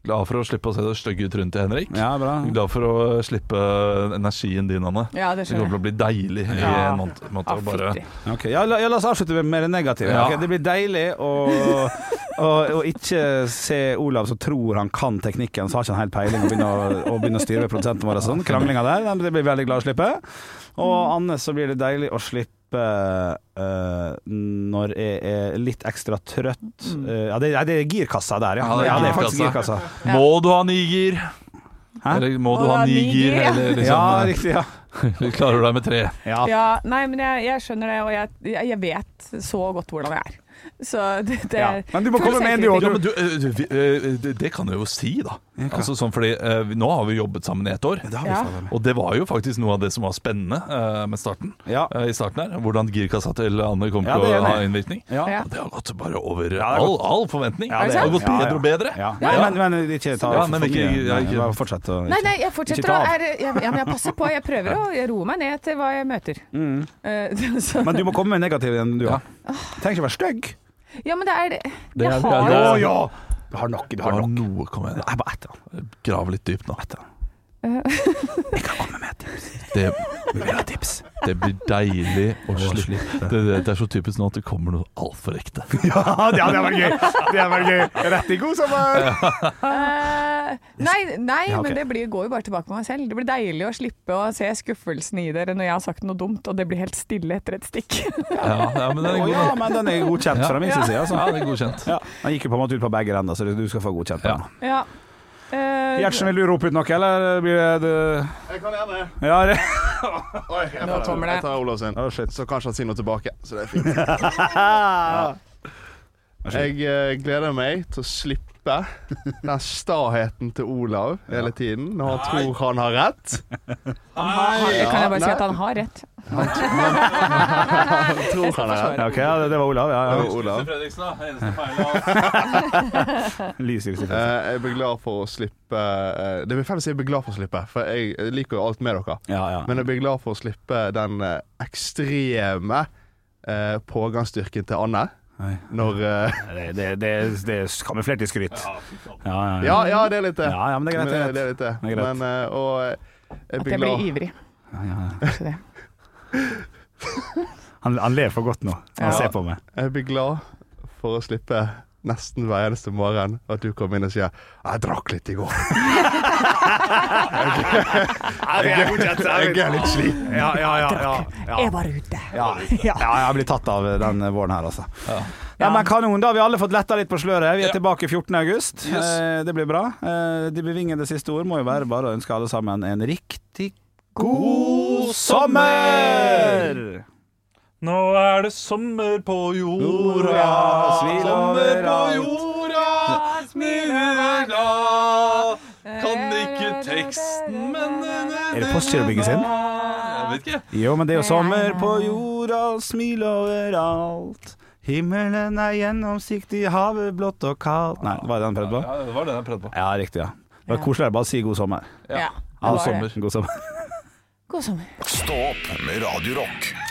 D: glad for å slippe å se det stygge trynet til Henrik.
E: ja bra.
D: Glad for å slippe eh, energien din, Anne.
B: Ja, det skjønner
D: Det kommer til
B: jeg.
D: å bli deilig i
B: Ja.
D: en måned.
B: Ja,
D: måned å bare,
B: fytti.
E: Ok, ja, la, ja, la oss avslutte med- med det negative.
D: Ja.
E: Ok, det blir deilig å, å, å ikke se Olav som tror han kan teknikken, så har ikke han helt peiling, og begynner å, å, begynne å styre med produsenten vår og sånn. Kranglinga der, den- det blir veldig glad å slippe. Og Anne, så blir det deilig å slippe eh, når jeg er litt ekstra trøtt. Eh, ja, det, ja, det er girkassa der, ja.
D: Ja, det er
E: Ja, det er faktisk
D: girkassa.
E: girkassa.
D: Må du ha niger?
E: Hæ?
D: Eller må
B: Må
D: du ha
B: du ha niger,
D: niger?
B: ja.
D: Eller
E: Ja,
D: liksom,
E: riktig. Ja.
D: klarer du deg med tre?
E: ja.
B: Ja, nei, men jeg, jeg skjønner det, og jeg, jeg jeg vet så godt hvordan jeg er. Så det, det
E: Ja. Men du må komme med en, du
B: òg.
E: også.
D: Ja, men du, eh, du, vi, eh, det- det kan jeg jo si, da. Altså, sånn fordi eh, vi- Nå har vi jobbet sammen i ett år.
B: Ja.
D: Og det var jo faktisk noe av det som var spennende eh, med starten.
E: Ja.
D: Eh, I starten her, Hvordan girkassa til Anne kom
E: Ja,
D: til
E: det er
D: å ha
E: det.
D: innvirkning.
E: Ja.
B: Ja.
D: Og det har gått bare over
E: har
D: all, all forventning.
E: Ja,
B: det
D: det,
B: er
D: har gått
E: sant.
D: bedre og bedre.
E: Ja.
D: Ja.
E: Men, men ikke ta
D: Ja,
E: for
D: men ikke-
E: mye.
D: ja,
E: Nei,
D: ikke-
E: bare Fortsett å
B: Nei, nei, jeg fortsetter
E: Ikke
B: å
E: ta av.
B: er, ja, ja, men Jeg passer på. Jeg prøver å roe meg ned til hva jeg møter. Eh, så,
E: Men du må komme med negativ igjen, du òg. Trenger ikke være stygg.
B: ja, men det er det
D: Det er-
B: Jeg har
D: det
B: jo
D: er-
E: ja! Du har nok. Du
D: Det
E: har
D: var
E: nok.
D: noe, kom igjen.
E: Nei, bare ett. da.
D: Grav litt dypt nå.
E: Jeg kan komme med et tips.
D: Det,
E: Vi vil ha tips.
D: det blir deilig å slippe. Det, det, det er så typisk nå at det kommer noe altfor ekte.
E: Ja, det hadde vært gøy. Det hadde vært gøy. Rett i god sommer.
B: Eh, Nei, nei
E: Ja, ok.
B: men det blir, går jo bare tilbake på meg selv. Det blir deilig å slippe å se skuffelsen i dere når jeg har sagt noe dumt, og det blir helt stille etter et stikk.
D: Ja, ja, men
E: Å
D: det er
E: ja,
D: god.
E: men den er godkjent fra min side, altså.
D: Ja, det er godkjent.
E: Ja. Den gikk jo på en måte ut på begge ender, så du skal få godkjent den.
D: Ja.
B: ja. Eh,
E: Gjertsen, vil du rope ut noe, eller blir det du-
C: Jeg kan gjerne.
E: Ja, det
C: Oi, jeg,
B: Nå kommer det.
C: jeg tar Olav sin,
E: Å, shit.
C: så kanskje han sier noe tilbake. Så det er fint. Jeg eh, gleder meg til å slippe den staheten til Olav hele tiden når han tror han har rett.
B: han har, kan jeg bare si
C: Nei.
B: at han har rett?
C: Han tror han har rett.
E: Ja, OK, ja, det- det var Olav. Ja,
C: Det
E: ja.
C: var Olav.
D: Fredriksen, da. Eneste feil
E: Lys i
C: Eh, jeg blir glad for å slippe eh, Det blir feil å si jeg blir glad for å slippe, for jeg jeg liker jo alt med dere.
E: Ja, ja.
C: Men jeg blir glad for å slippe den eh, ekstreme eh, pågangsstyrken til Anne.
E: Nei.
C: Når eh,
E: Det, det, det, det er kamuflert i skryt. Ja, ja, ja.
C: Ja, ja, det er litt det.
E: Ja, ja, men det er greit, det er greit.
C: det er litt det.
E: Det er greit.
C: Men, eh, og eh, jeg
B: At
C: blir
B: jeg blir
C: glad
B: ivrig.
E: Ja, ja, ja.
B: Kanskje det.
E: Han, han ler for godt nå.
B: Ja.
E: Han ser på meg.
C: Jeg blir glad for å slippe nesten hver eneste morgen at du kommer inn og sier 'Jeg drakk litt i går'. Jeg er litt sliten.
E: Ja, ja, ja, ja, ja.
B: Jeg var ute.
E: Ja, ja jeg blir tatt av den våren her, altså. Ja, men kanon, da har vi alle fått letta litt på sløret. Vi er
D: Ja.
E: tilbake 14. august.
D: Yes.
E: Eh, det blir bra. Eh, de bevingede siste ord må jo være bare å ønske alle sammen en riktig god sommer!
D: Nå er det sommer på jorda,
E: Jorda, svil
D: sommer på
E: overalt.
D: jorda, smiler da. Kan ikke teksten, men
E: Er det Postgirobygget sin?
D: Jeg vet ikke.
E: Jo, men det er jo sommer på jorda, smil overalt. Himmelen er gjennomsiktig, havet blått og kaldt Nei, det var det han prøvde på?
D: Ja, det var den jeg prøvde på.
E: Ja, riktig, ja. Det var koseligere bare å si god sommer.
B: Ja.
E: God
B: det var det.
E: sommer. God sommer.
B: God sommer.
A: Stå opp med Radio Rock.